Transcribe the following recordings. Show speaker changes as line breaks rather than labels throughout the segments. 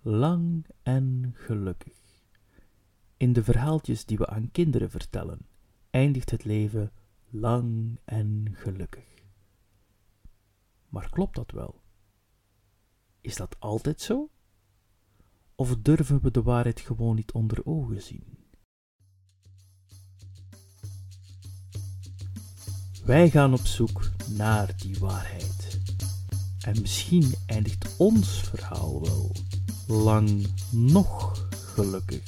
lang en gelukkig. In de verhaaltjes die we aan kinderen vertellen, eindigt het leven lang en gelukkig. Maar klopt dat wel? Is dat altijd zo? Of durven we de waarheid gewoon niet onder ogen zien? Wij gaan op zoek naar die waarheid. En misschien eindigt ons verhaal wel lang nog gelukkig.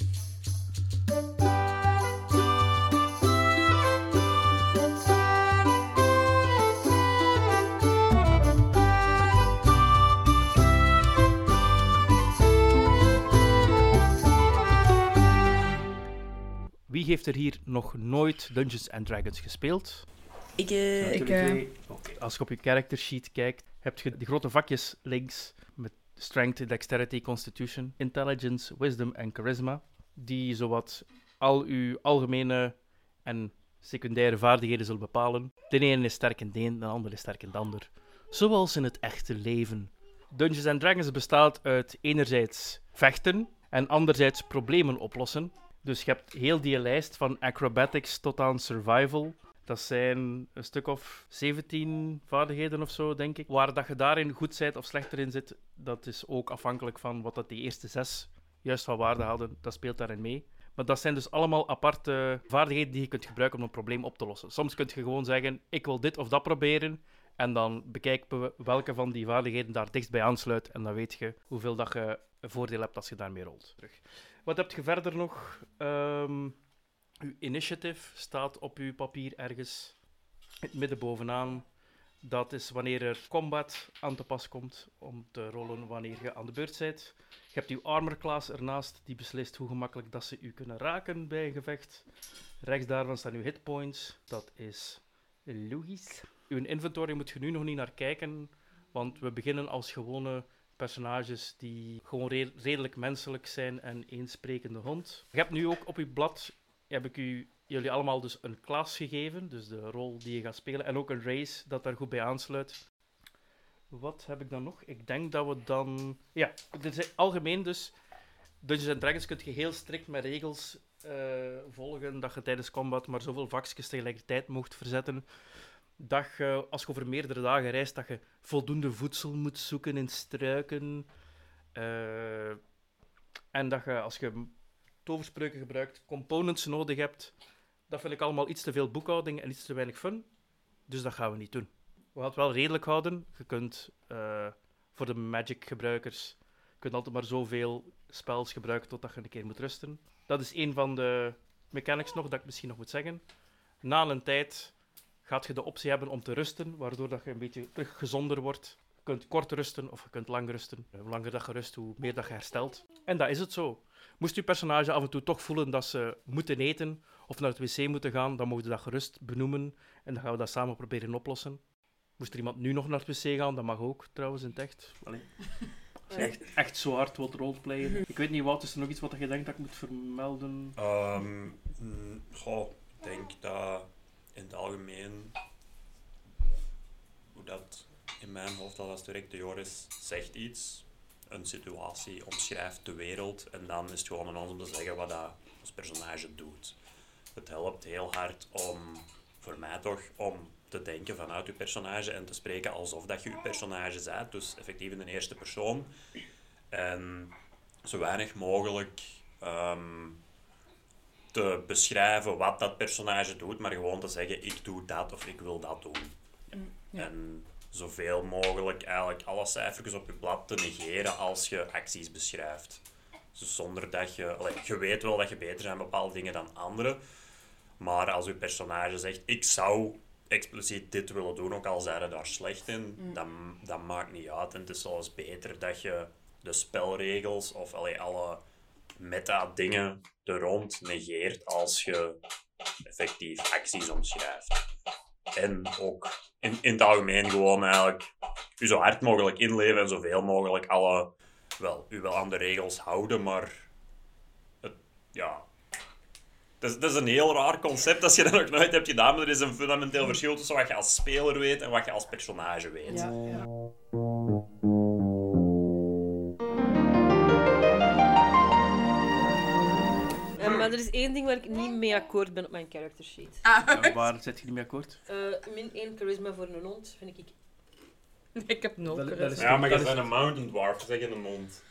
Wie heeft er hier nog nooit Dungeons and Dragons gespeeld?
Ik, eh,
Ik,
Natuurlijk,
eh,
eh,
Oké, Als je op je character sheet kijkt, heb je de grote vakjes links met Strength, Dexterity, Constitution, Intelligence, Wisdom en Charisma, die zowat al uw algemene en secundaire vaardigheden zullen bepalen. De ene is sterk in de een, de ander is sterk in de ander. Zoals in het echte leven. Dungeons and Dragons bestaat uit enerzijds vechten en anderzijds problemen oplossen. Dus je hebt heel die lijst van acrobatics tot aan survival. Dat zijn een stuk of 17 vaardigheden of zo, denk ik. Waar dat je daarin goed bent of slechter in zit, dat is ook afhankelijk van wat dat die eerste zes juist van waarde hadden. Dat speelt daarin mee. Maar dat zijn dus allemaal aparte vaardigheden die je kunt gebruiken om een probleem op te lossen. Soms kun je gewoon zeggen, ik wil dit of dat proberen. En dan bekijken we welke van die vaardigheden daar dichtst bij aansluit. En dan weet je hoeveel dat je een voordeel hebt als je daarmee rolt. Terug. Wat heb je verder nog? Ehm uw initiative staat op uw papier ergens in het midden bovenaan. Dat is wanneer er combat aan te pas komt om te rollen wanneer je aan de beurt bent. Je hebt uw armor class ernaast, die beslist hoe gemakkelijk dat ze u kunnen raken bij een gevecht. Rechts daarvan staan uw hitpoints, dat is logisch. Uw inventory moet je nu nog niet naar kijken, want we beginnen als gewone personages die gewoon re- redelijk menselijk zijn en één sprekende hond. Je hebt nu ook op uw blad heb ik u, jullie allemaal dus een klas gegeven, dus de rol die je gaat spelen, en ook een race dat daar goed bij aansluit. Wat heb ik dan nog? Ik denk dat we dan... Ja, dit is algemeen dus... Dungeons Dragons kun je heel strikt met regels eh, volgen, dat je tijdens combat maar zoveel vakjes tegelijkertijd mocht verzetten. Dat je, als je over meerdere dagen reist, dat je voldoende voedsel moet zoeken in struiken. Eh, en dat je, als je toverspreuken gebruikt, components nodig hebt. Dat vind ik allemaal iets te veel boekhouding en iets te weinig fun. Dus dat gaan we niet doen. We gaan het wel redelijk houden. Je kunt eh, voor de magic gebruikers je kunt altijd maar zoveel spells gebruiken totdat je een keer moet rusten. Dat is een van de mechanics nog dat ik misschien nog moet zeggen. Na een tijd gaat je de optie hebben om te rusten, waardoor dat je een beetje terug gezonder wordt. Je kunt kort rusten of je kunt lang rusten. Eh, Hoe langer dat je rust, hoe meer dat je herstelt. En dat is het zo. Moest uw personage af en toe toch voelen dat ze moeten eten of naar het wc moeten gaan, dan mogen we dat gerust benoemen en dan gaan we dat samen proberen oplossen. Moest er iemand nu nog naar het wc gaan, dat mag ook trouwens in het echt. Allee. Als je echt, echt zo hard wilt roleplayen. Ik weet niet, Wout, is er nog iets wat je denkt dat ik moet vermelden?
Ehm, mm, goh, ik denk dat in het algemeen, hoe dat in mijn hoofd al als direct de Joris zegt iets, een situatie, omschrijft de wereld en dan is het gewoon aan ons om te zeggen wat dat ons personage doet. Het helpt heel hard om, voor mij toch, om te denken vanuit je personage en te spreken alsof dat je je personage bent, dus effectief in de eerste persoon. En zo weinig mogelijk ehm, te beschrijven wat dat personage doet, maar gewoon te zeggen ik doe dat of ik wil dat doen.
ja.
En zoveel mogelijk eigenlijk alle cijfertjes op je blad te negeren als je acties beschrijft. Dus zonder dat je... allee, je weet wel dat je beter zijn in bepaalde dingen dan anderen, maar als je personage zegt ik zou expliciet dit willen doen, ook al zijn ze daar slecht in, dan, dat maakt niet uit. En het is zelfs beter dat je de spelregels of allee, alle meta-dingen er rond negeert als je effectief acties omschrijft. En ook in, in het algemeen gewoon eigenlijk u zo hard mogelijk inleven en zoveel mogelijk alle, wel, u wel aan de regels houden, maar het, ja. Dat is, dat is een heel raar concept als je dat nog nooit hebt gedaan, maar er is een fundamenteel verschil tussen wat je als speler weet en wat je als personage weet.
Ja, ja.
er is één ding waar ik niet mee akkoord ben op mijn character sheet.
En waar zet je niet mee akkoord?
Eh, min 1 charisma voor een hond vind ik.
eh,
Nee, ik heb 0
Dat- dat
charisma.
is-
Ja, maar je
dat
bent een mountain dwarf, zeg in de mond.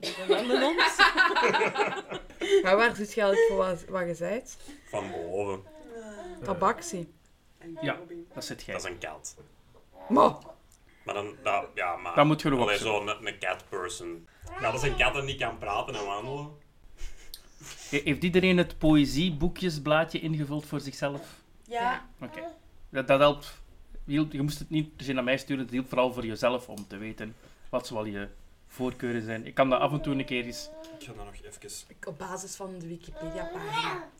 Ik ben wel een hond.
Maar waar zit je eigenlijk voor wat, wat je zijt?
Van boven. Eh.
Tabaxi.
Ja, dat zit jij.
Dat is een kat.
Maar,
Maar dan, dat, ja, maar...
Dat moet je nog
Allee,
opzoeken.
zo'n een cat person. Ja, dat is een kat en die kan praten en wandelen.
He- E-, Heeft iedereen het poëzieboekjesblaadje ingevuld voor zichzelf?
Ja.
Oké. Dat, dat helpt. hielp- Je moest het niet per se naar mij sturen, het hielp vooral voor jezelf om te weten wat zal je voorkeuren zijn. Ik kan dat af en toe een keer eens...
Ik ga dat nog even...
ik- op basis van de Wikipedia-pagina.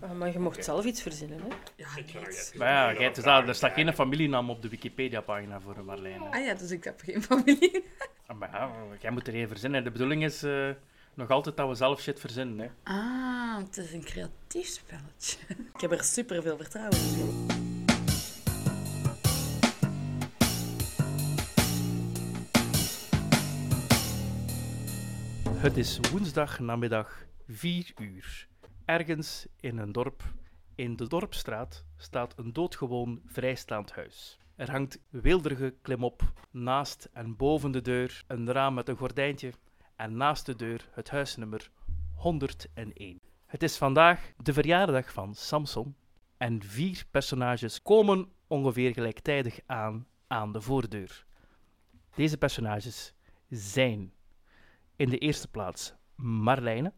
Ah, maar je mocht zelf iets verzinnen, hè?
Ja,
Ik ga nog
niet.
even...
Maar ja, jij- het is daar, er staat geen
Ja.
familienaam op de Wikipedia-pagina voor een Marlijn.
Ah ja, dus ik heb geen familie.
Ah, Maar ja, jij moet er één verzinnen. De bedoeling is eh, nog altijd dat we zelf shit verzinnen. Hè.
Ah, het is een creatief spelletje.
Ik heb er super veel vertrouwen in.
Het is woensdag namiddag 4 uur. Ergens in een dorp, in de dorpstraat, staat een doodgewoon vrijstaand huis. Er hangt weelderige klimop. Naast en boven de deur een raam met een gordijntje. En naast de deur het huisnummer 101. Het is vandaag de verjaardag van Samson. En vier personages komen ongeveer gelijktijdig aan aan de voordeur. Deze personages zijn in de eerste plaats Marlijne.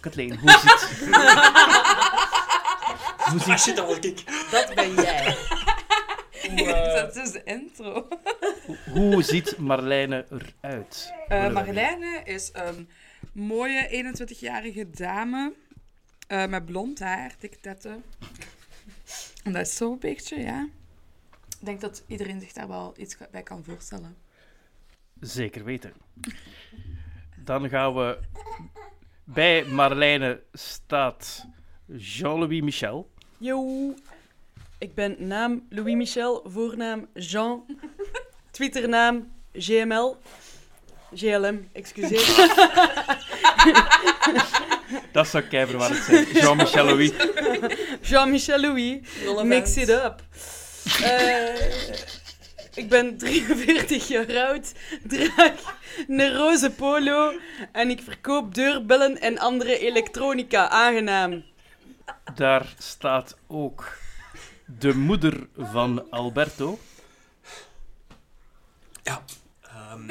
Kathleen, hoe ziet... hoe
Ah
ziet,
shit, dat was ik.
Dat ben jij.
hoe, eh,
Dat is dus de intro.
hoe ziet Marlijne eruit?
Eh, Marlijne is een mooie 21-jarige dame eh, met blond haar, dikke tetten. En dat is zo'n beetje, ja. Ik denk dat iedereen zich daar wel iets bij kan voorstellen.
Zeker weten. Dan gaan we... Bij Marlijne staat Jean-Louis Michel.
Yo. Ik ben naam Louis Michel, voornaam Jean, Twitternaam GML. GLM, excuseer.
Dat zou kijver waar het zijn. Jean-Michel Louis.
Jean-Michel Louis. Mix it up. Eh, ik ben 43 jaar oud, draag een roze polo en ik verkoop deurbellen en andere elektronica. Aangenaam.
Daar staat ook de moeder van Alberto.
Ja. Ehm.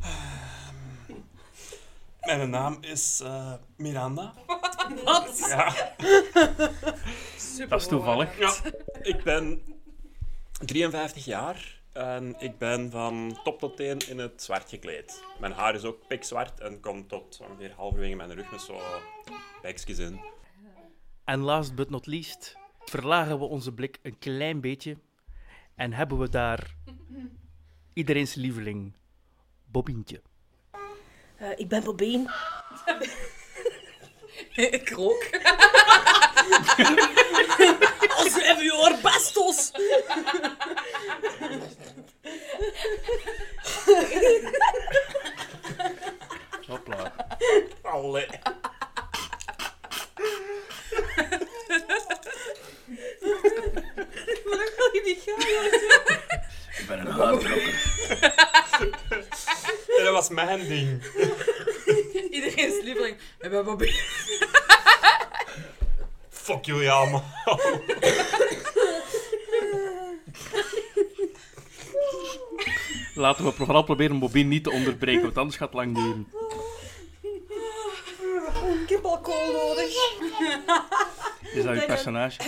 Ehm. Mijn naam is eh, Miranda. Wat? Ja.
Dat is toevallig.
ja, ik ben 53 jaar en ik ben van top tot teen in het zwart gekleed. Mijn haar is ook pikzwart en komt tot ongeveer halverwege mijn rug met zo bekjes in.
En last but not least, verlagen we onze blik een klein beetje en hebben we daar iedereen's lieveling, Bobientje.
Eh, ik ben Bobine.
ik rook.
Als even je bastos.
Hopla.
Allee.
Ik ben een haardrokker.
En dat was mijn ding.
Iedereen is lieveling. We hebben Bobby.
Fuck jullie allemaal.
Laten we vooral proberen Bobien niet te onderbreken, want anders gaat het lang duren.
Ik heb alcohol nodig.
Is dat uw personage?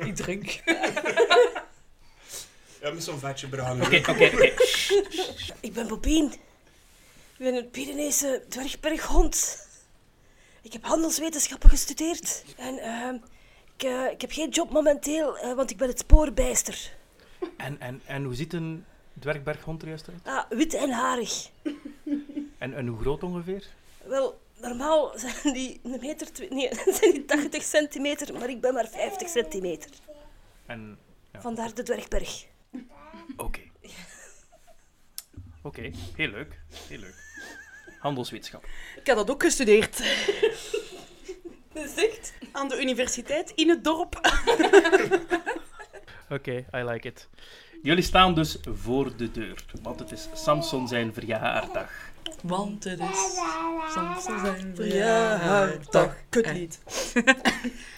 Ik drink.
Ja, met zo'n vetje bruin.
Oké, oké, oké.
Ik ben Bobien. Ik ben een Pyrenese dwergberghond. Ik heb handelswetenschappen gestudeerd. En ehm, ik, eh, ik heb geen job momenteel, eh, want ik ben het spoorbijster.
En, en, en hoe ziet een dwergberghond er juist uit?
Ah, wit en harig.
En, en hoe groot ongeveer?
Wel, normaal zijn die een meter... twi- Nee, zijn die 80 centimeter, maar ik ben maar 50 centimeter.
En, ja.
Vandaar de dwergberg.
Oké. Oké, heel leuk. Heel leuk. Handelswetenschap.
Ik had dat ook gestudeerd.
Dat is echt.
Aan de universiteit in het dorp.
Oké, I like it. Jullie staan dus voor de deur, want het is Samson zijn verjaardag.
Want het is soms zijn Eh.
kutlied.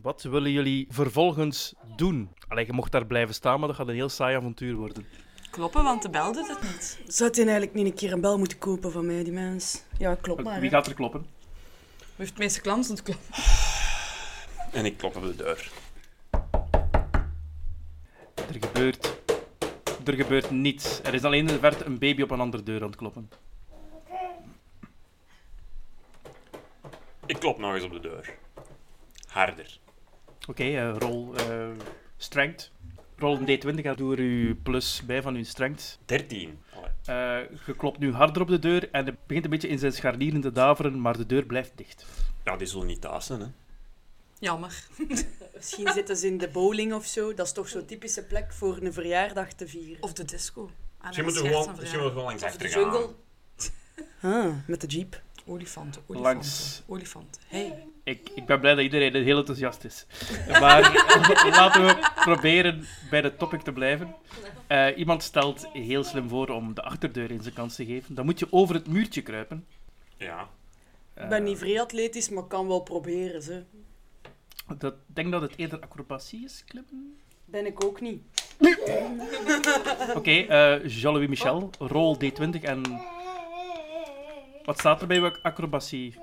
Wat willen jullie vervolgens doen? Allee, je mocht daar blijven staan, maar dat gaat een heel saai avontuur worden.
Kloppen, want de bel doet het niet.
Zou hij eigenlijk niet een keer een bel moeten kopen van mij, die mens? Ja, klopt maar.
Wie
hè.
gaat er kloppen?
Wie heeft het meeste klanten ontklapt?
En ik klop op de deur.
Er gebeurt... Er gebeurt niets. Er is alleen in de verte een baby op een andere deur aan het kloppen.
Ik klop nog eens op de deur. Harder.
Oké, eh, rol eh strength. Rol een D20 en doe er uw plus bij van uw strength.
13. Allee.
Eh je klopt nu harder op de deur en het begint een beetje in zijn scharnieren te daveren, maar de deur blijft dicht.
Ja, die zullen niet thuis zijn, hè.
Jammer.
Misschien zitten ze in de bowling of zo. Dat is toch zo'n typische plek voor een verjaardag te vieren.
Of de disco. Ah, dat
Misschien moeten
is
we
echt
gewoon, dus
een
misschien moeten we gewoon langs
Of de
achter
jungle.
gaan.
Ah, met de jeep.
verhaal. Olifanten, olifanten.
Langs.
Olifanten. Hey.
Ik, ik ben blij dat iedereen heel enthousiast is. Maar laten we proberen bij de topic te blijven. Eh, iemand stelt heel slim voor om de achterdeur in zijn kans te geven. Dan moet je over het muurtje kruipen.
Ja.
Ik ben
Eh,
niet vrij atletisch, maar kan wel proberen, ze.
dat, ik denk dat het eerder acrobatie is, klimmen.
Ben ik ook niet.
Oké, eh, Jean-Louis Michel, rol D20 en... Wat staat er bij welk acrobatie?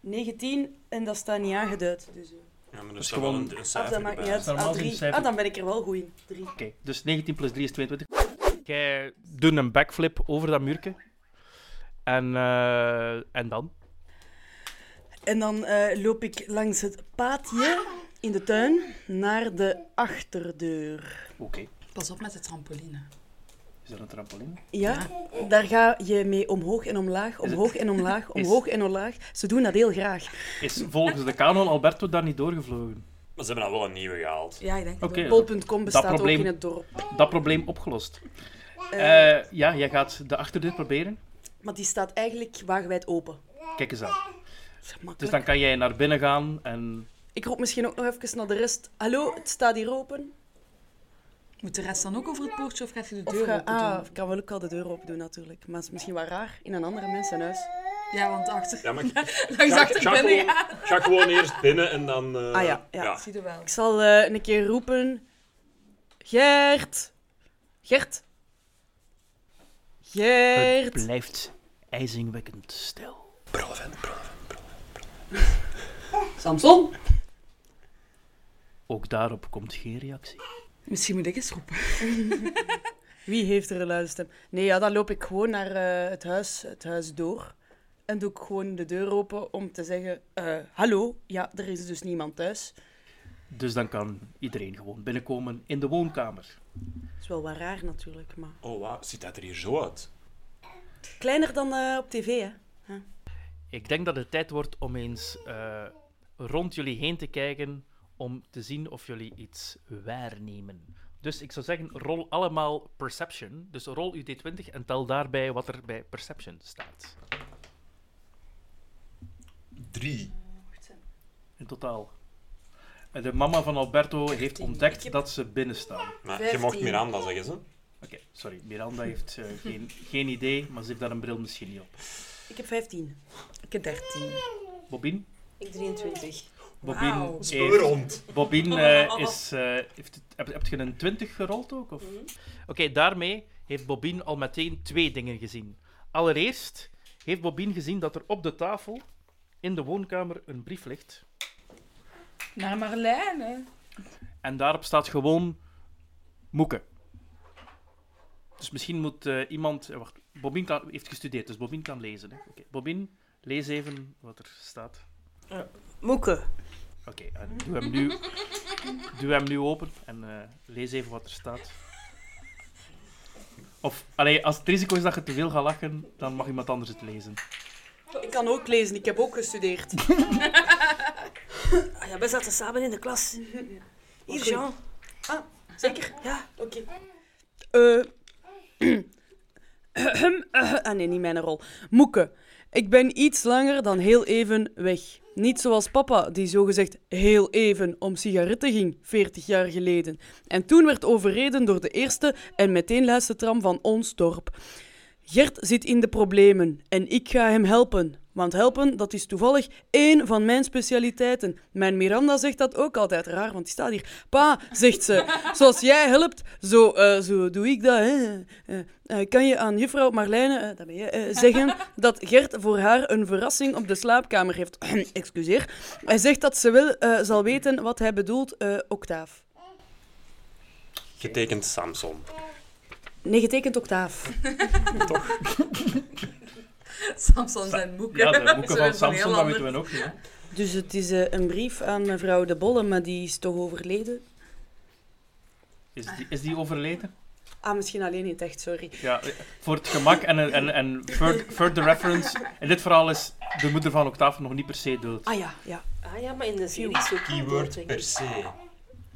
19 en dat staat niet aangeduid. Dus, eh.
ja maar er
is
staat wel
gewoon-
een, een
Ah,
cijfer
dat maakt
erbij.
niet uit.
Normaal
Ah,
zijn
drie.
cijfer-
ah, dan ben ik er wel goed in. 3.
Oké, dus 19 plus 3 is 22. Jij doet een backflip over dat muurtje. En, eh, en dan?
En dan eh, loop ik langs het paadje in de tuin naar de achterdeur.
Oké,
Pas op met de trampoline.
is er een trampoline?
Ja, daar ga je mee omhoog en omlaag, omhoog en omlaag, omhoog en omlaag. Ze doen dat heel graag.
Is volgens de kanon Alberto daar niet doorgevlogen?
Maar ze hebben al wel een nieuwe gehaald.
Ja, ik denk dat
Oké,
Bol.com bestaat ook
probleem-
in het dorp.
dat probleem opgelost.
Eh,
Eh, ja, jij gaat de achterdeur proberen.
maar die staat eigenlijk wagenwijd open.
Kijk eens aan.
Zeg,
Dus
makkelijk.
dan kan jij naar binnen gaan en...
Ik roep misschien ook nog even naar de rest. Hallo, het staat hier open.
Moet de rest dan ook over het poortje of gaat je de
Of
deur
ga,
open
ah,
doen?
ik kan wel ook al de deur open doen natuurlijk. Maar het is misschien wel raar in een andere mensenhuis.
Ja, want achter...
Ja, maar ik
Langs
ga,
achter
ga,
ben
gewoon,
ik.
ga gewoon eerst binnen en dan... eh,
Ah ja, ja.
Zie je wel.
Ik zal eh, een keer roepen. Gert. Gert. Gert.
blijft ijzingwekkend stil.
Samson.
Ook daarop komt geen reactie.
Misschien moet ik eens roepen.
Wie heeft er een luide stem? Nee, ja, dan loop ik gewoon naar eh, het, huis, het huis door. En doe ik gewoon de deur open om te zeggen... eh, hallo, ja, er is dus niemand thuis.
Dus dan kan iedereen gewoon binnenkomen in de woonkamer.
Dat is wel wat raar natuurlijk, maar...
Oh, wauw. Ziet dat er hier zo uit?
Kleiner dan eh, op tv, hè?
Ik denk dat het tijd wordt om eens eh, rond jullie heen te kijken om te zien of jullie iets waarnemen. Dus ik zou zeggen, rol allemaal perception. Dus rol uw D20 en tel daarbij wat er bij perception staat.
Drie.
In totaal. En De mama van Alberto heeft ontdekt dat ze binnen staan.
Maar je mocht Miranda zeggen, ze.
Oké, sorry. Miranda heeft eh, geen, geen idee, maar ze heeft daar een bril misschien niet op.
Ik heb 15.
Ik heb 13.
Bobin?
Ik 23.
Bobin,
Wauw.
heeft,
rond.
Bobin eh, is... eh, heeft, het- heb, heb je een 20 gerold ook? Of? Oké, daarmee heeft Bobin al meteen twee dingen gezien. Allereerst heeft Bobin gezien dat er op de tafel in de woonkamer een brief ligt.
Naar Marlijne.
En daarop staat gewoon Moeke. Dus misschien moet eh, iemand. eh, Wacht, Bobin kan, heeft gestudeerd, dus Bobin kan lezen. Hè? Oké, Bobin, lees even wat er staat.
Moeke.
Oké, en doe hem nu. Doe hem nu open en eh, lees even wat er staat. Of, allee, als het risico is dat je te veel gaat lachen, dan mag iemand anders het lezen.
Ik kan ook lezen, ik heb ook gestudeerd.
Ah ja, wij zaten samen in de klas. Hier,
goed.
Jean.
Zeker?
Ja.
Oké. eh, ahem, eh, ah nee, niet mijn rol. Moeke, ik ben iets langer dan heel even weg. Niet zoals papa, die zogezegd heel even om sigaretten ging, 40 jaar geleden. En toen werd overreden door de eerste en meteen laatste tram van ons dorp. Gert zit in de problemen en ik ga hem helpen. Want helpen, dat is toevallig één van mijn specialiteiten. Mijn Miranda zegt dat ook altijd. Raar, want die staat hier. Pa, zegt ze, zoals jij helpt, zo, eh, zo doe ik dat. Hè. Eh, eh, kan je aan juffrouw Marlijne, eh, dat ben je, eh, zeggen dat Gert voor haar een verrassing op de slaapkamer heeft. Excuseer. Hij zegt dat ze wel eh, zal weten wat hij bedoelt, eh octaaf.
Getekend Samson.
Nee, getekend octaaf.
Samson zijn boeken.
Ja, de
Zo
boeken van
is het een heel
Samson, dat weten
ander-
we ook niet. hè.
Dus het is eh, een brief aan mevrouw de Bolle, maar die is toch overleden?
Is die, is die overleden?
Ah, misschien alleen niet echt, sorry.
Ja, eh, voor het gemak en, en, en fur- further reference. In dit verhaal is de moeder van Octave nog niet per se dood.
Ah ja, ja.
Ah ja, maar in de serie is ook
Keyword per se.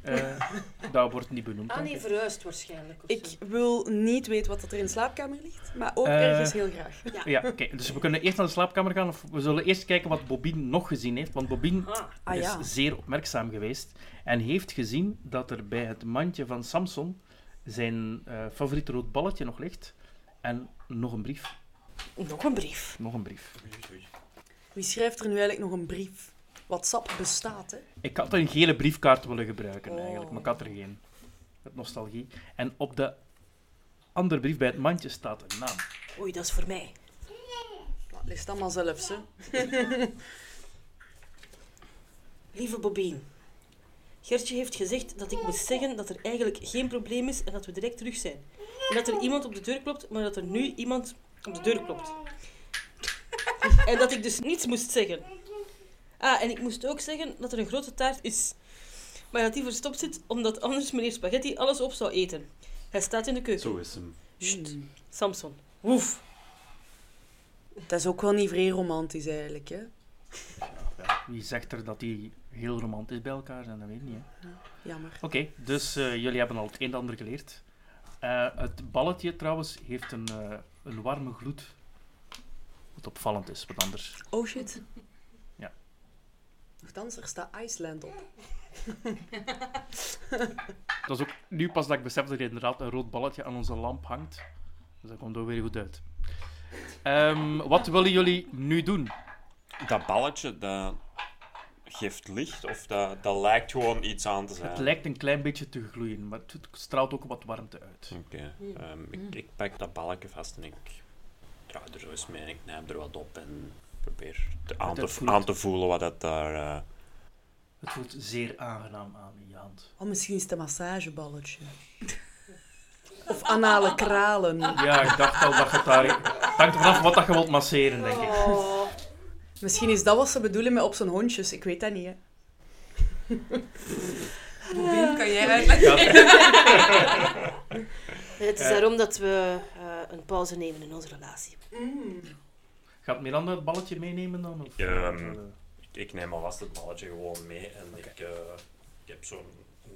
Eh, dat wordt niet benoemd.
Ah
denk
nee,
ik.
verhuisd waarschijnlijk. Of
Ik
zo.
wil niet weten wat dat er in de slaapkamer ligt, maar ook
Eh.
ergens heel graag.
Ja, oké. Dus we kunnen eerst naar de slaapkamer gaan. Of we zullen eerst kijken wat Bobine nog gezien heeft. Want Bobine
Ah,
Ah ja.
is zeer opmerkzaam geweest. En heeft gezien dat er bij het mandje van Samson zijn eh favoriete rood balletje nog ligt. En nog een brief.
Nog een brief.
Nog een brief.
Wie schrijft er nu eigenlijk nog een brief? WhatsApp bestaat, hè?
Ik had een gele briefkaart willen gebruiken eigenlijk,
Oh.
maar ik had er geen. Met nostalgie. En op de andere brief bij het mandje staat een naam.
Oei, dat is voor mij.
Dat ligt allemaal zelfs, hè?
Lieve Bobien. Gertje heeft gezegd dat ik moest zeggen dat er eigenlijk geen probleem is en dat we direct terug zijn. En dat er iemand op de deur klopt, maar dat er nu iemand op de deur klopt. En dat ik dus niets moest zeggen. Ah, en ik moest ook zeggen dat er een grote taart is. Maar dat die verstopt zit, omdat anders meneer Spaghetti alles op zou eten. Hij staat in de keuken.
Zo is hem.
Juist. Samson. Woef.
Dat is ook wel niet vrij romantisch, eigenlijk, hè?
Ja, wie zegt er dat die heel romantisch bij elkaar zijn? Dat weet ik niet. hè.
Jammer.
Oké, dus eh, jullie hebben al het een en ander geleerd. Eh, het balletje trouwens heeft een, eh, een warme gloed. Wat opvallend is, wat anders.
Oh shit.
Ja.
Nochtans, er staat Iceland op.
Dat is ook nu pas dat ik besef dat er inderdaad een rood balletje aan onze lamp hangt. Dus dat komt ook weer goed uit. Ehm, wat willen jullie nu doen?
Dat balletje, dat geeft licht of dat, dat lijkt gewoon iets aan te
Het
zijn.
lijkt een klein beetje te gloeien, maar het straalt ook wat warmte uit.
Oké. ehm, ik, ik pak dat balletje vast en ik draai er zo eens mee en ik neem er wat op en probeer te- aan,
Dat
te,
voelt-
aan te voelen wat dat daar... eh,
Het voelt zeer aangenaam aan in je hand.
Oh, misschien is het een massageballetje. Of anale kralen.
Ja, ik dacht al dat je het daar... Het hangt er vanaf wat dat je wilt masseren, denk ik.
Misschien is dat wat ze bedoelen met op zijn hondjes. Ik weet dat niet, hè?
Bobien, kan jij uitleggen?
Het is
Eh.
daarom dat we eh, een pauze nemen in onze relatie.
Gaat Miranda het balletje meenemen dan? Of, eh?
Ja, ehm, ik, ik neem alvast het balletje gewoon mee en ik, eh, ik heb zo'n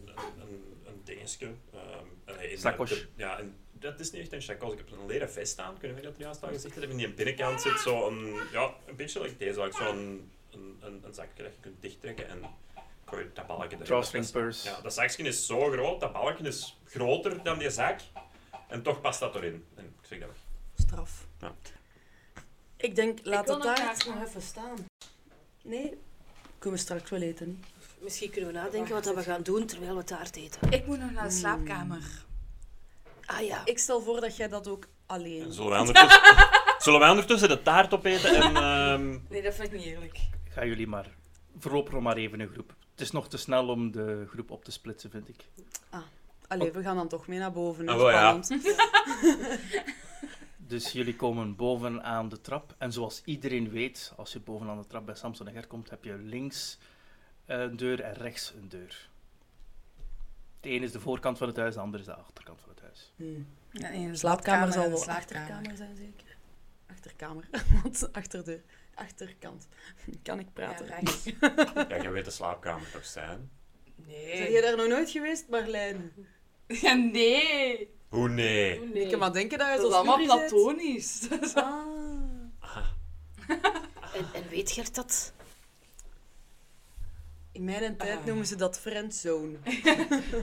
een, een, een dingetje. ehm, allee, in-
Sacoche.
ja, en dat is niet echt een chakos. Ik heb een leren vest aan, kunnen we dat er juist al gezegd hebben. In die binnenkant zit zo'n, ja, een beetje like deze, like zo'n een, een, een zakje dat je kunt dichttrekken en kan je dat balkje erin.
Drawstring
Dat is-
purse.
Ja, dat zakje is zo groot, dat balkje is groter dan die zak. En toch past dat erin. En ik zeg dat weg.
Straf.
Ja.
Ik denk, laat
Ik wil
het
een
daar.
taart nog even staan.
Nee, kunnen we straks wel eten.
Misschien kunnen we nadenken wat dat we gaan doen terwijl we taart eten.
Ik moet nog naar de slaapkamer.
Ah ja.
Ik stel voor dat jij dat ook alleen.
En zullen wij ondertussen, zullen wij ondertussen de taart opeten en... ehm,
Nee, dat vind ik niet eerlijk.
Gaan jullie maar. Voorlopig nog maar even een groep. Het is nog te snel om de groep op te splitsen, vind ik.
Allee, we gaan dan toch mee naar boven.
Ah, wel, ja.
Spannend.
Dus jullie komen boven aan de trap. En zoals iedereen weet, als je boven aan de trap bij Samson en Gert komt, heb je links een deur en rechts een deur. De ene is de voorkant van het huis, de andere is de achterkant van het huis.
Ja, in de
Slaapkamer zal
en de
wel
slaapkamer.
achterkamer zijn, zeker? Achterkamer. Want achterdeur. Achterkant. Kan ik praten?
Ja, rechts.
Ja, jij weet de slaapkamer toch zijn?
Ben jij daar nog nooit geweest, Marlijn?
Ja, nee.
Hoe nee?
Ik kan maar denken dat hij
Dat
zo
is allemaal
smurrie bent. platonisch.
Ah.
En, en weet Gert dat?
In mijn tijd noemen ze dat friendzone.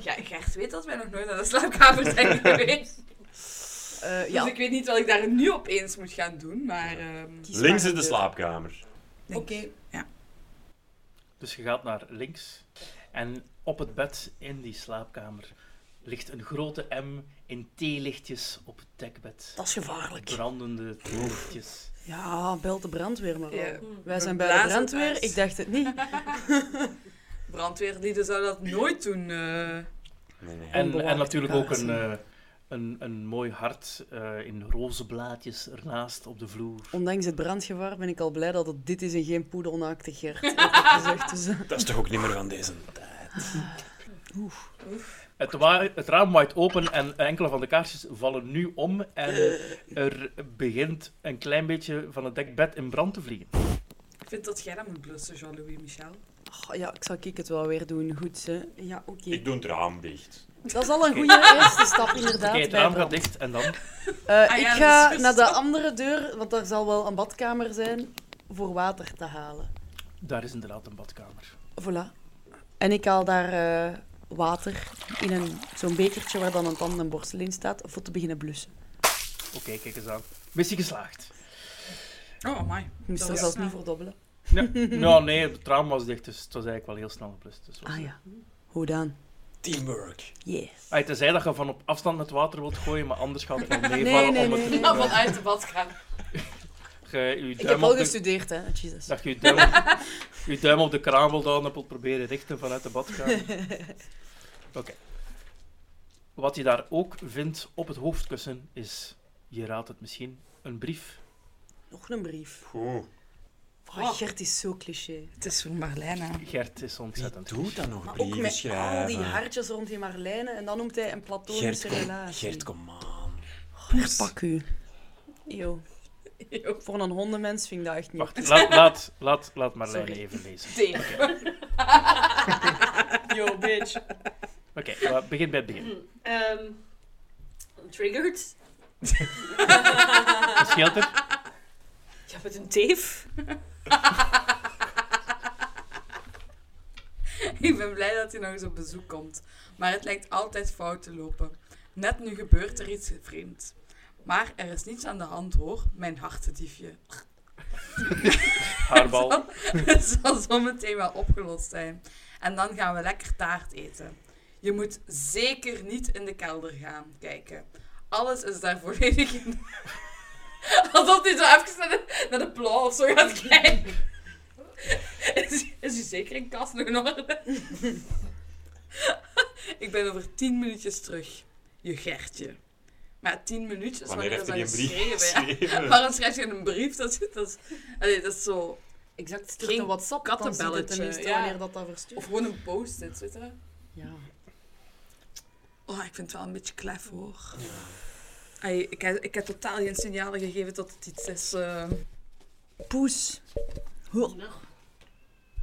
Ja, Gert weet dat wij nog nooit naar de slaapkamer zijn geweest.
Eh
Dus
ja,
ik weet niet wat ik daar nu opeens moet gaan doen, maar... ehm,
kies maar
Links in
een
de
deur.
slaapkamer.
denk
Oké.
ik.
Dus je gaat naar links. En op het bed in die slaapkamer ligt een grote M in theelichtjes op het dekbed.
Dat is gevaarlijk.
Brandende theelichtjes.
Ja, bel de brandweer maar.
Ja.
al.
Hmm.
Wij zijn
We
bij de
blazen het
brandweer,
uit.
ik dacht het niet.
Brandweerlieden zouden dat nooit doen. eh.
Nee, nee.
En,
Onbewaakt
en natuurlijk ook een,
kaarsen.
eh, een, een mooi hart eh, in roze blaadjes ernaast op de vloer.
Ondanks het brandgevaar ben ik al blij dat het dit is en geen poedelnaakte Gert. heb ik gezegd. Dus, eh,
Dat is toch ook niet meer van deze tijd?
Het, wa- het raam waait open en enkele van de kaarsjes vallen nu om. En
Eh.
er begint een klein beetje van het dekbed in brand te vliegen.
Ik vind dat jij dat moet blussen, Jean-Louis Michel.
oh, ja, ik zal ik het wel weer doen. Goed, hè. Ja, oké.
Ik doe het raam dicht.
Dat is al een goede eerste stap, inderdaad.
Oké, het
bij
raam
brand.
gaat dicht en dan...
Eh,
Ah
ik
ja,
ga
dat is
naar de andere deur, want daar zal wel een badkamer zijn, voor water te halen.
Daar is inderdaad een badkamer.
Voilà. En ik haal daar eh, water in een- zo'n bekertje waar dan een tand en borstel in staat, voor te beginnen blussen.
Oké, kijk eens aan. Missie geslaagd.
Oh, amai.
Ik moest
Dat
er
is
zelfs
snel.
niet voor dobbelen.
Ja. nou, nee, het raam was dicht, dus het was eigenlijk wel heel snel geblust. Dus was-
Ah ja, hoe dan?
Teamwork.
Yes.
Ah, tenzij dat je van op afstand met water wilt gooien, maar anders gaat het wel meevallen
nee, nee,
om het...
nee, Nou,
Ja, vanuit de badkamer.
Je, je
Ik
duim
heb al
op de-
gestudeerd, hè. Jesus.
Dat je je duim, je duim op de kraan wil houden en wilt proberen richten vanuit de badkamer. Oké. Wat je daar ook vindt op het hoofdkussen is, je raadt het misschien, een brief.
Nog een brief.
Goed.
Oh, Gert is zo cliché.
Het is voor Marlijna.
Gert is
Wie
ontzettend
doet dan nog
Maar ook
brieven
met al die
schrijven?
hartjes rond die Marlijnen en dan noemt hij een
Gert,
platonische
kom,
relatie.
Gert, kom aan.
Poes. Pak u. Yo. Voor een hondenmens vind ik dat echt niet.
Wacht, laat, laat, laat, laat Marlijn
Sorry.
even lezen.
Yo, bitch.
Oké, maar begin bij het begin.
Ehm, triggered.
Wat scheelt er?
Ja, met een teef.
Ik ben blij dat hij nog eens op bezoek komt, maar het lijkt altijd fout te lopen. Net nu gebeurt er iets vreemds. Maar er is niets aan de hand hoor, mijn hartendiefje.
Haarbal.
Het zal zometeen wel opgelost zijn. En dan gaan we lekker taart eten. Je moet zeker niet in de kelder gaan kijken. Alles is daar volledig in. Alsof hij zo even naar de, naar de plan of zo gaat kijken. Is, is je zeker in kast nog in orde? Ik ben over tien minuutjes terug. Je Gertje. Maar tien minuutjes,
Wanneer heeft hij
wanneer
die
is dat
brief
geschreven? ja?
geschreven?
Waarom schrijf je een brief? Dat, is- dat, is- allee, dat is zo...
Exact, stuurt
Geen
een WhatsApp, dan zie je het
kattenbelletje,
tenminste
ja.
wanneer dat dat verstuurt.
Of gewoon een post-it, weet je?
ja.
Oh, ik vind het wel een beetje klef, hoor. Ai, ik, heb, ik heb totaal geen signalen gegeven dat het iets is... eh,
Poes.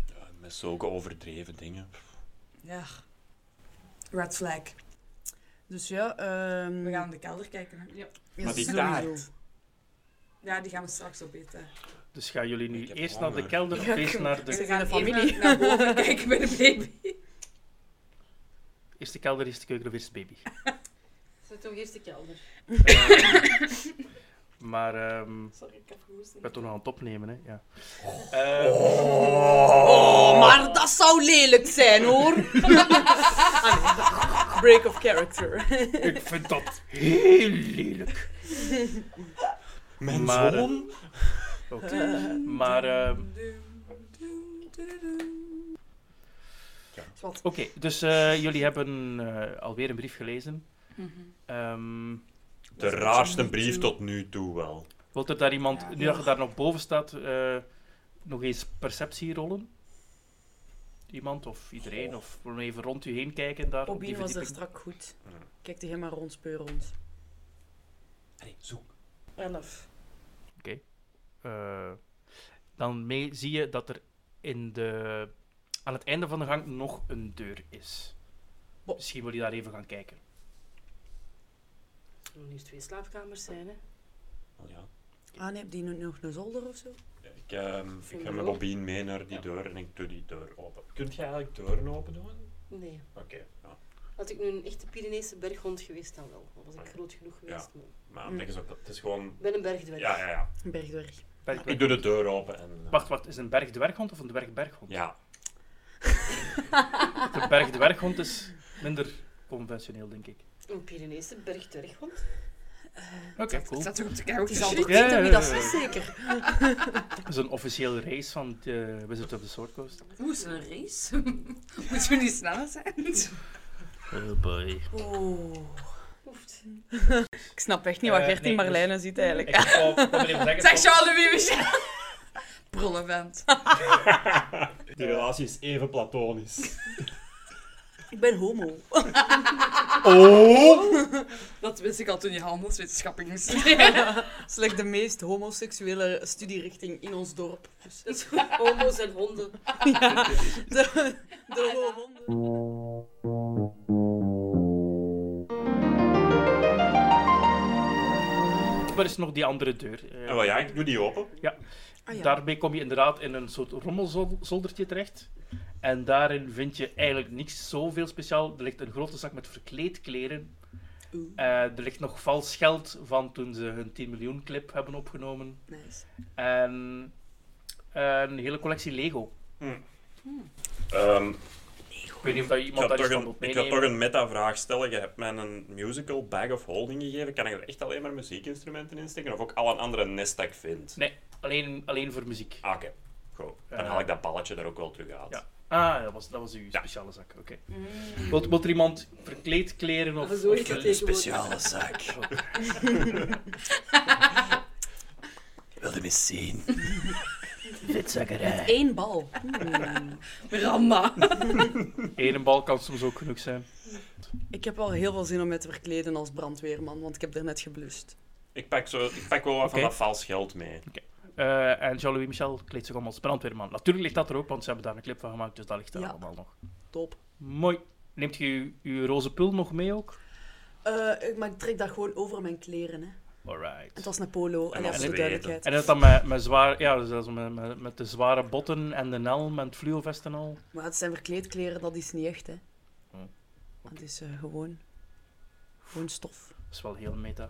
Ja, Met zulke overdreven dingen.
ja. Red flag.
Dus ja, ehm
We gaan in de kelder kijken. hè.
ja,
Maar die
sowieso.
taart.
Ja, die gaan we straks opeten.
Dus gaan jullie nu
Ik heb
eerst naar de
honger.
kelder of
Ja,
eerst
goed.
naar de...
We
Ze
gaan
gaan de familie.
even naar boven kijken bij de baby.
Eerst de kelder, eerst de keuken of eerst de baby?
Zet toch eerst de kelder.
Ehm, maar ehm,
Sorry, ik heb gehoest.
ik ben toch nog aan het opnemen, hè. Ja. Ehm,
Oh, maar dat zou lelijk zijn, hoor. Ah, nee. Break of character.
Ehm, ik vind dat heel lelijk.
Mijn
Maar, eh,
zoon?
Maar, ehm,
Zwat.
oké, dus eh, jullie hebben eh, alweer een brief gelezen.
Mhm.
Ehm,
De raarste brief tot nu toe wel.
wilt er daar iemand,
Ja.
nu dat je daar nog boven staat, eh, nog eens perceptie rollen? Iemand of iedereen? Of gewoon even rond u heen kijken daar op die
Bobby was er
verdieping?
strak goed.
Ja.
Kijk die helemaal rond, speur rond.
Allee, zoek.
Elf.
Eh, dan mee zie je dat er in de, aan het einde van de gang nog een deur is.
Bo-
Misschien wil je daar even gaan kijken.
Er moeten twee slaapkamers zijn, hè.
Wel, Ja.
Ah nee, heb die nu nog een zolder of zo?
Ik, ehm, ik ga met Bobine mee naar die deur en ik doe die deur open. Kunt je eigenlijk deuren open doen?
Nee.
Oké, ja.
Had ik nu een echte Pyreneese berghond geweest, dan wel. Dan was ik groot genoeg geweest. maar
Maar dat is ook, het is gewoon...
Ik ben een bergdwerg.
Ja, ja, ja.
Een bergdwerg.
Bergdwerg.
Ik doe de deur open en... eh,
Wacht, wacht. Is een bergdwerghond of een dwergberghond?
Ja.
De bergdwerghond is minder conventioneel, denk ik.
Een Pyreneese bergdwerghond.
Oké, cool.
staat toch op de couch?
Die zal toch
Ja, ja,
niet
ja,
dat dat
ja.
is zeker.
Dat is een officiële race van de Wizard of the Sword Coast.
Hoe is een race? Moet je niet sneller zijn?
Oh boy.
Hoeft.
Ik snap echt niet wat
Eh,
Gert in
nee,
Marlijne ziet eigenlijk.
wou even zeggen...
Zeg Jean-Louis Michel. Brullenvent.
Die relatie is even platonisch.
Ik ben homo.
Oh!
Dat wist ik al toen je handelswetenschappen ging
Slechts de meest homoseksuele studierichting in ons dorp. Dus
Dat is goed. Homo's en honden.
de, de homo.
Waar is nog die andere deur? Eh,
En wel ja, ik doe die open.
Ah,
Daarbij kom je inderdaad in een soort rommelzoldertje terecht. En daarin vind je eigenlijk niks zoveel speciaal. Er ligt een grote zak met verkleedkleren.
Oeh.
Eh, er ligt nog vals geld van toen ze hun 10 miljoen clip hebben opgenomen.
Nice.
En een hele collectie Lego.
Ehm,
Ik weet niet of dat
ik
iemand
ga
daar
toch
iets van
een,
moet
ik ga
meenemen.
toch een meta-vraag stellen. Je hebt mij een musical bag of holding gegeven. Kan ik er echt alleen maar muziekinstrumenten in steken? Of ook al een andere nest dat ik vind?
Nee, alleen, alleen voor muziek.
Ah, Oké, goed. Dan
Eh.
haal ik dat balletje er ook wel terug uit.
Ja. Ah, dat was, dat was uw
Ja.
speciale zak. Oké. Wilt, wilt er iemand verkleedkleren of...
Ah, zo is
of-
het tegenwoordig.
zak. Wil je me zien?
Eén bal.
Miranda.
Eén bal kan soms ook genoeg zijn.
Ik heb al heel veel zin om me te verkleden als brandweerman, want ik heb daarnet geblust.
Ik pak, zo, ik pak wel wat van
Oké.
dat vals geld mee.
Eh, en Jean-Louis Michel kleedt zich om als brandweerman. Natuurlijk ligt dat er ook, want ze hebben daar een clip van gemaakt, dus dat ligt daar
Ja.
allemaal nog.
Top.
Mooi. Neemt je uw- uw roze pul nog mee ook?
Eh, ik- maar ik trek dat gewoon over mijn kleren. Hè. Het
Alright.
was een polo, en
als
even voor de
zweden.
duidelijkheid.
En dat dan met, met, zwaar, ja, dus dat is met, met, met de zware botten en de helm en het fluovest en al.
Maar het zijn verkleedkleren, dat is niet echt, hè.
Hm.
Het is eh, gewoon... Gewoon stof.
Dat is wel heel meta.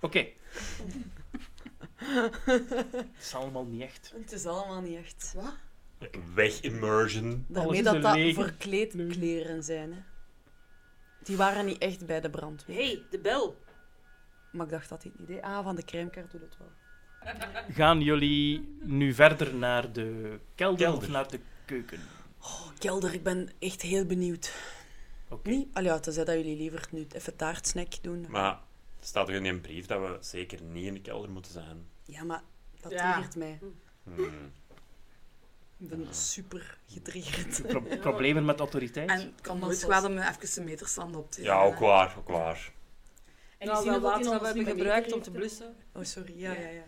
Oké. het is allemaal niet echt.
Het is allemaal niet echt. Wat?
Weg immersion.
Alles
Daarmee
is
dat
een
dat
leeg.
verkleedkleren zijn, hè. Die waren niet echt bij de brandweer.
hey, de bel.
Maar ik dacht dat dit niet deed. Ah, van de crèmekaart doet het wel.
Gaan jullie nu verder naar de kelder,
Kelder.
of naar de keuken?
Oh, kelder, ik ben echt heel benieuwd.
Oké.
Niet? Allee, ja, tenzij dat jullie liever nu even taartsnack doen.
Maar er staat toch in die brief dat we zeker niet in de kelder moeten zijn?
Ja, maar dat
Ja.
triggert mij.
Hmm.
Ik
Ah.
ben super getriggerd.
Pro- problemen met autoriteit?
En kan
Nooit
nooit
kwaad
kwaad om even een meterstand op te
Ja, ook waar, ook waar.
En
Nou,
nou,
wel
wel
laat
water
dat
dat we hebben gebruikt om te blussen.
Oh, sorry. Ja, ja, ja.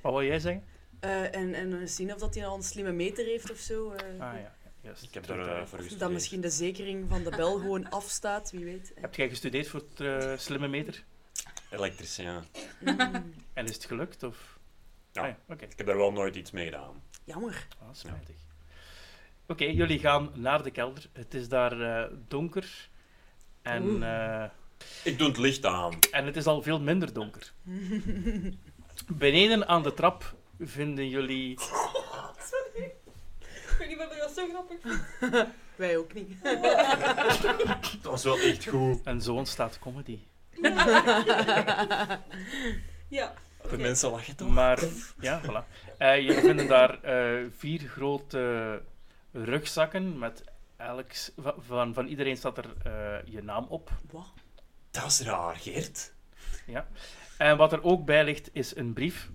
Wat wil jij zeggen?
Eh, en, en zien of dat hij al een slimme meter heeft of zo. eh.
Ah ja, ja, juist.
Ik heb
Terug
daar
daar.
eh, voor gestudeerd.
Dat misschien de zekering van de bel gewoon afstaat, wie weet.
Heb jij gestudeerd voor het eh, slimme meter?
Elektricien.
Mm,
En is het gelukt? Of?
Ja.
Ah Oké,
Ik heb daar wel nooit iets mee gedaan.
jammer.
Ah, spijtig. Oké, jullie gaan naar de kelder. Het is daar eh, donker. En, eh,
Ik doe het licht aan.
en het is al veel minder donker. Beneden aan de trap vinden jullie...
Ik weet niet waarom dat zo grappig
Wij ook niet.
Dat was wel echt goed.
En zo ontstaat comedy.
Ja.
De mensen lachen toch?
Maar, ja, voilà. Eh, jullie vinden daar eh, vier grote rugzakken met... Elk, s- va- van, van iedereen staat er eh, je naam op.
Wat?
Dat is raar, Geert.
En wat er ook bij ligt, is een brief.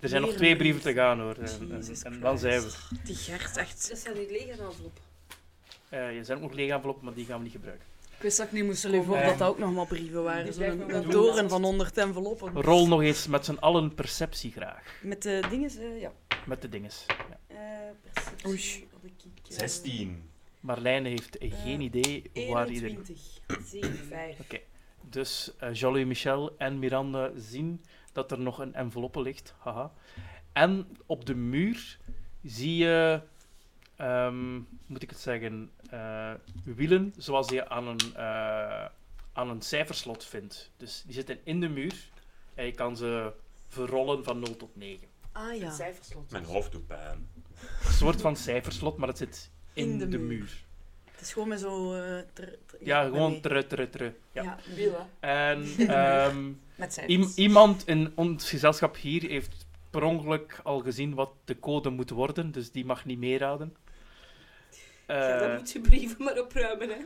Er zijn nog
Weer
twee
een brief.
brieven te gaan, hoor. En, en,
Jezus
en dan zijn we. er.
Die Gert echt.
Dat zijn die lege enveloppen.
Eh, er zijn ook nog lege enveloppen, maar die gaan we niet gebruiken.
Ik wist dat ik niet moest
Stel je voor
Ehm,
dat dat ook nog maar brieven waren.
die
Zo'n
blijven
een,
we wel doen.
toren van 100 enveloppen.
Rol nog eens met z'n allen perceptie graag.
Met de dinges, eh, ja.
Met de dinges. Ja.
Eh, perceptie.
Oei.
Had ik, eh,
16.
Marlijne heeft geen idee waar iedereen...
21, 7,
Dus eh Jolie, Michel en Miranda zien dat er nog een enveloppe ligt. Haha. En op de muur zie je, ehm, moet ik het zeggen, eh, wielen zoals je aan een, eh, aan een cijferslot vindt. Dus die zitten in de muur en je kan ze verrollen van 0 tot 9.
Ah ja.
Cijferslot.
Mijn hoofd doet pijn.
Een soort van cijferslot, maar het zit in, de, muur.
Het is gewoon met zo... eh, tr- tr-
Ja,
nee.
gewoon tru, tru, tru. Ja.
Ja.
Wielen.
En ehm,
Met cijfers.
Iem- iemand in ons gezelschap hier heeft per ongeluk al gezien wat de code moet worden, dus die mag niet meeraden. Eh,
Ja, dan moet je brieven maar opruimen, hè.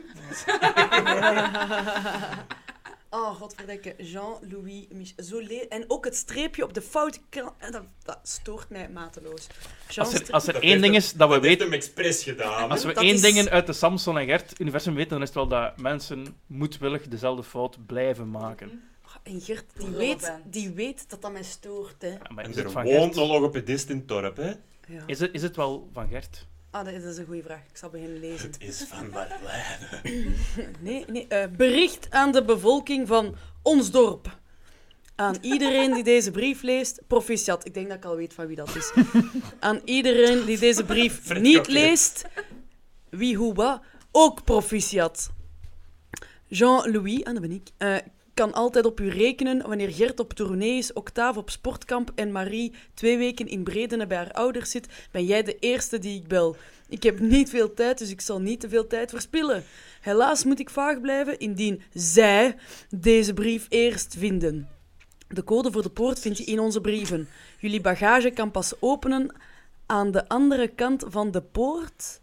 Oh, godverdekke. Jean-Louis Michel. Zo le- en ook het streepje op de foute kant. eh, Dat, dat stoort mij mateloos. Jean
als er,
stre-
als er
Dat
één
heeft
ding
hem-
is dat we
Dat heeft
weten,
hem expres gedaan.
als we
Dat
één
is-
ding uit de Samson en Gert-universum weten, dan is het wel dat mensen moedwillig dezelfde fout blijven maken.
Oh, en Gert, die
Lullen
weet,
ben.
die weet dat dat mij stoort, hè.
Ja, maar
En
is,
er
het van
woont een
Gert?
logopedist in het dorp, hè?
Ja.
Is, het, is het wel van Gert?
Ah, dat is, dat is een goede vraag. Ik zal beginnen lezen.
Het is van Marlijn.
Nee, nee. eh, bericht aan de bevolking van ons dorp. Aan iedereen die deze brief leest, proficiat. Ik denk dat ik al weet van wie dat is. Aan iedereen die deze brief
Fred
niet
Kokkie.
leest, wie hoe wat, ook proficiat. Jean-Louis, en dat ben ik, eh, kan altijd op u rekenen wanneer Gert op tournee is, Octave op sportkamp en Marie twee weken in Bredene bij haar ouders zit, ben jij de eerste die ik bel. Ik heb niet veel tijd, dus ik zal niet te veel tijd verspillen. Helaas moet ik vaag blijven indien zij deze brief eerst vinden. De code voor de poort vind je in onze brieven. Jullie bagage kan pas openen aan de andere kant van de poort.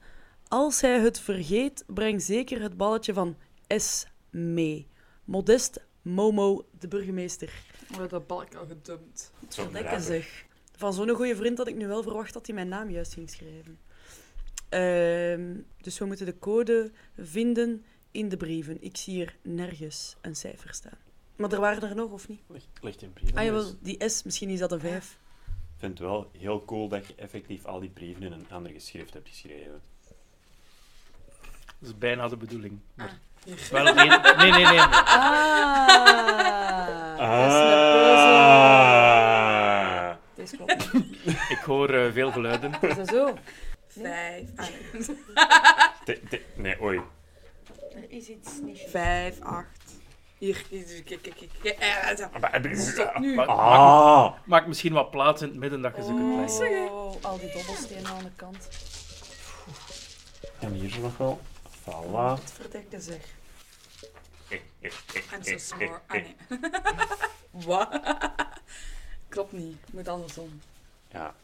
Als hij het vergeet, breng zeker het balletje van S mee. Modest Momo, de burgemeester.
We hebben dat balk al gedumpt.
Zo'n
Lekker
rapper.
zeg. Van zo'n goede vriend had ik nu wel verwacht dat hij mijn naam juist ging schrijven. Ehm, dus we moeten de code vinden in de brieven. Ik zie hier nergens een cijfer staan. Maar er waren er nog, of niet?
Ligt, ligt in brieven.
Ah
dus.
jawel, die S, misschien is dat een 5.
Ik vind het wel heel cool dat je effectief al die brieven in een ander geschrift hebt geschreven.
Dat is bijna de bedoeling. Maar
Ah.
wel één- nee, nee, nee. nee.
Ah, dat is een puzzel.
Ah.
Deze klopt.
Ik hoor eh, veel geluiden.
Is dat zo?
Vijf. Ah, nee.
De- de- nee, oei.
Er is iets niet.
Vijf, acht.
Hier. hier, Kijk, kijk, kijk. kijk. Eh, eh, eh.
Ma- maak,
Ah.
maak misschien wat plaats in het midden dat je ze kunt leggen.
Oh, al die dobbelstenen aan de kant.
En hier is nog wel. Voilà.
Wat verdekken zeg.
I'm so sorry. Ah, nee. Wat? Klopt niet. Moet andersom.
Ja.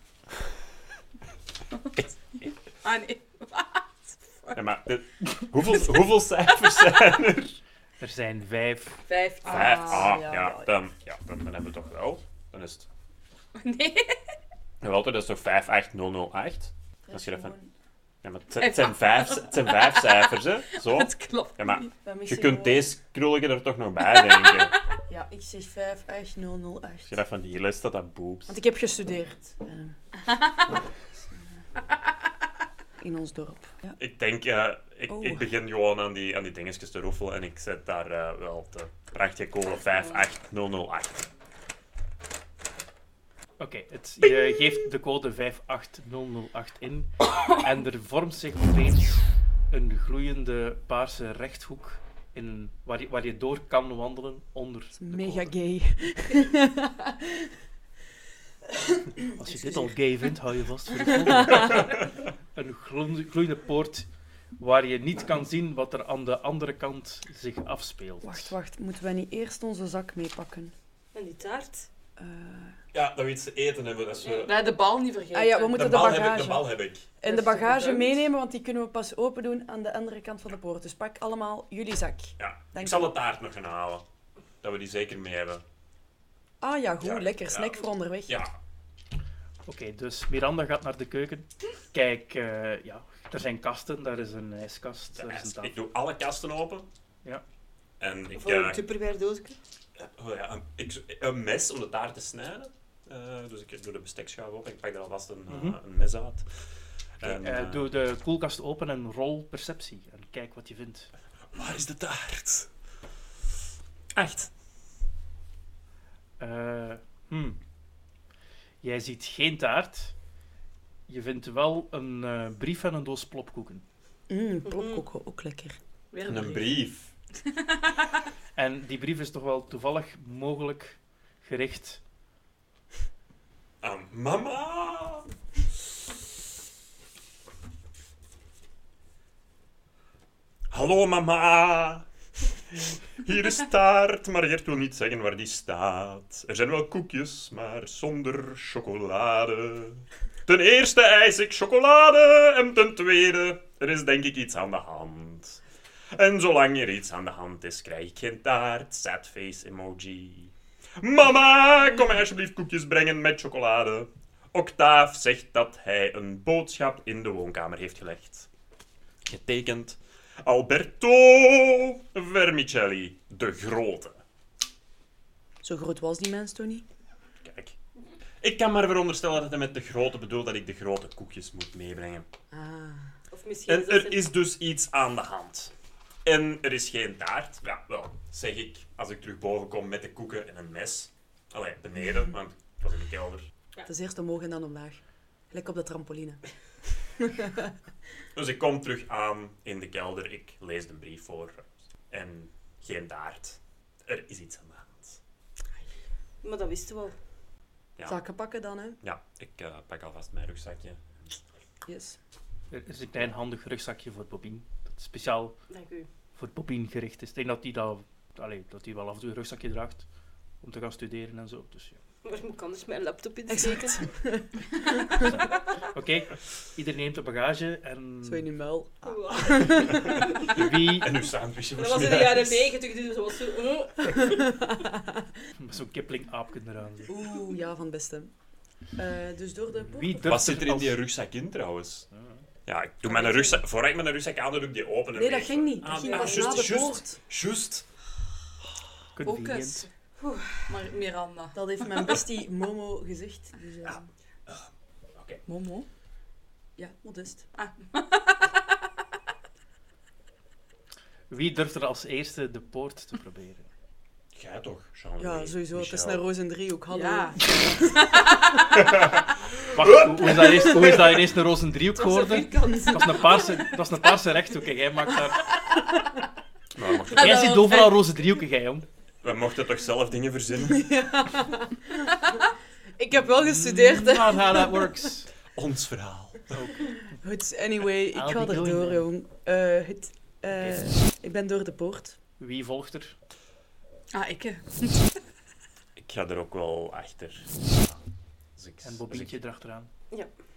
Ah, nee.
ja maar dit- hoeveel, hoeveel cijfers zijn er?
Er zijn vijf.
Vijf. Ah,
Vijf. Ah,
ja,
ja,
ja, ja.
Dan, ja, dan, dan hebben we toch wel. Dan is het.
Ah, Nee.
Jawel, dat is toch 58008? Als je dat van. Ja, maar het, het
Vijf-
zijn vijf, het zijn vijf cijfers, hè? Zo.
Het klopt
Oh. Ja, maar
niet.
je kunt deze krullige er toch nog bij denken.
Ja, ik zeg 58008.
Als je dat van die les dat dat boeps.
Want ik heb gestudeerd. eh. in ons dorp. Ja.
Ik denk, eh, ik,
Oh.
ik begin gewoon aan die, aan die dingetjes te roffelen en ik zet daar eh, wel de prachtige code
Oh.
58008.
Oké, het- je geeft de code 58008 in en er vormt zich opeens een gloeiende paarse rechthoek in, waar, je, waar je door kan wandelen onder de
Mega
code.
gay.
Als je dit al gay vindt, hou je vast voor de volgende. Een gloe- gloeiende poort waar je niet kan zien wat er aan de andere kant zich afspeelt.
Wacht, wacht. Moeten wij niet eerst onze zak meepakken?
En die taart.
Eh,
Ja, dat we iets te eten hebben. Dat eh, we...
Nee, de bal niet vergeten.
Ah ja, we moeten de
Heb ik, de
bagage.
bal heb ik.
En de
Dat is toch
bagage
bedankt.
meenemen, want die kunnen we pas open doen aan de andere kant van de poort. Dus pak allemaal jullie zak.
Ja.
Dank
ik zal de taart nog gaan halen. Dat we die zeker mee hebben.
Ah ja, goed.
Ja,
lekker.
ja.
Snack voor onderweg.
Ja.
Oké, dus Miranda gaat naar de keuken. Kijk, eh, ja, er zijn kasten. Daar is een ijskast, daar is een
ik
tafel.
doe alle kasten open.
Ja.
En ik,
Voor een
eh,
tupperware doosje.
oh ja, een, ik, een mes om de taart te snijden. Eh, dus ik doe de bestekschuif op en ik pak er alvast een, eh,
Mhm.
een mes uit. En,
Eh,
eh,
doe de koelkast open en rol perceptie. En kijk wat je vindt.
Waar is de taart? Echt.
Eh, hmm. Jij ziet geen taart. Je vindt wel een eh, brief en een doos plopkoeken.
Mm, plopkoeken, ook lekker.
Weer
Een brief.
En die brief is toch wel toevallig mogelijk gericht.
Aan mama. Hallo mama. Hier is taart, maar Gert wil niet zeggen waar die staat. Er zijn wel koekjes, maar zonder chocolade. Ten eerste eis ik chocolade en ten tweede, er is denk ik iets aan de hand. En zolang er iets aan de hand is, krijg ik geen taart. Sad face emoji. Mama, kom mij alsjeblieft koekjes brengen met chocolade. Octaaf zegt dat hij een boodschap in de woonkamer heeft gelegd. Getekend Alberto Vermicelli, de Grote.
Zo groot was die mens toch niet?
Kijk, ik kan maar veronderstellen dat hij met de Grote bedoelt dat ik de grote koekjes moet meebrengen.
Ah.
Of misschien
En
is dat
er is dus iets aan de hand. En er is geen taart. Ja, wel, zeg ik als ik terug boven kom met de koeken en een mes. Allee, beneden, want ik was in de kelder.
Het is eerst omhoog en dan omlaag. Gelijk op de trampoline.
Dus ik kom terug aan in de kelder. Ik lees de brief voor. En geen taart. Er is iets aan de hand.
Maar dat wisten we al.
Ja.
Zakken pakken dan, hè?
Ja, ik eh, pak alvast mijn rugzakje.
Yes.
Er is een klein handig rugzakje voor Bobine. Dat is speciaal
Dank u.
voor Bobine gericht is. Ik denk dat hij dat, allee, dat die wel af en toe een rugzakje draagt om te gaan studeren en zo. Dus, ja.
Waar moet ik anders mijn laptop in steken?
Oké, iedereen neemt de bagage en
Zo in uw muil.
Wow.
wie...
En uw sandwichje
Dat was in de jaren negentig, dus dat was zo... eh.
Met zo'n Kipling-aapje eraan. zo.
Oeh, ja, van het beste. Eh, dus door de poep.
Wie durft
Wat zit er in
als-
die rugzak in trouwens?
Ah.
Ja, ik doe mijn rugzak... Voordat ik mijn rugzak aan doe, doe ik die open. en
Nee, dat
leeg.
ging niet.
Ah,
Dat ging
ah,
pas na
juist,
de
juist,
poort.
Juist.
Ook
Convenient.
eens.
Maar Miranda.
Dat heeft mijn bestie Momo gezegd. Dus, eh,
Ja. Oké.
Momo? Ja, modest.
Wie durft er als eerste de poort te proberen?
Jij toch, Jean-Louis?
Ja, sowieso. Het is
Michel.
naar Roos en Driehoek. Hallo.
Ja.
Wacht, hoe- hoe is dat, eerst, hoe is dat ineens een roze driehoek geworden?
Vierkant.
Dat was een paarse, dat was een paarse rechthoek. en Jij, maakt daar...
Maar we mochten-
jij ziet overal roze driehoeken, jij, jong.
we mochten toch zelf dingen verzinnen?
Ik heb wel gestudeerd, hè.
Not how that works.
Ons verhaal.
Goed, anyway. Ik
Mm. I'll
ga
be
er
going
door,
there.
jong. Eh, het, eh, ik ben door de poort.
Wie volgt er?
Ah, ik. hè.
Ik ga er ook wel achter. Dus ik,
En
dus ik-
Bobientje erachteraan.
Ja.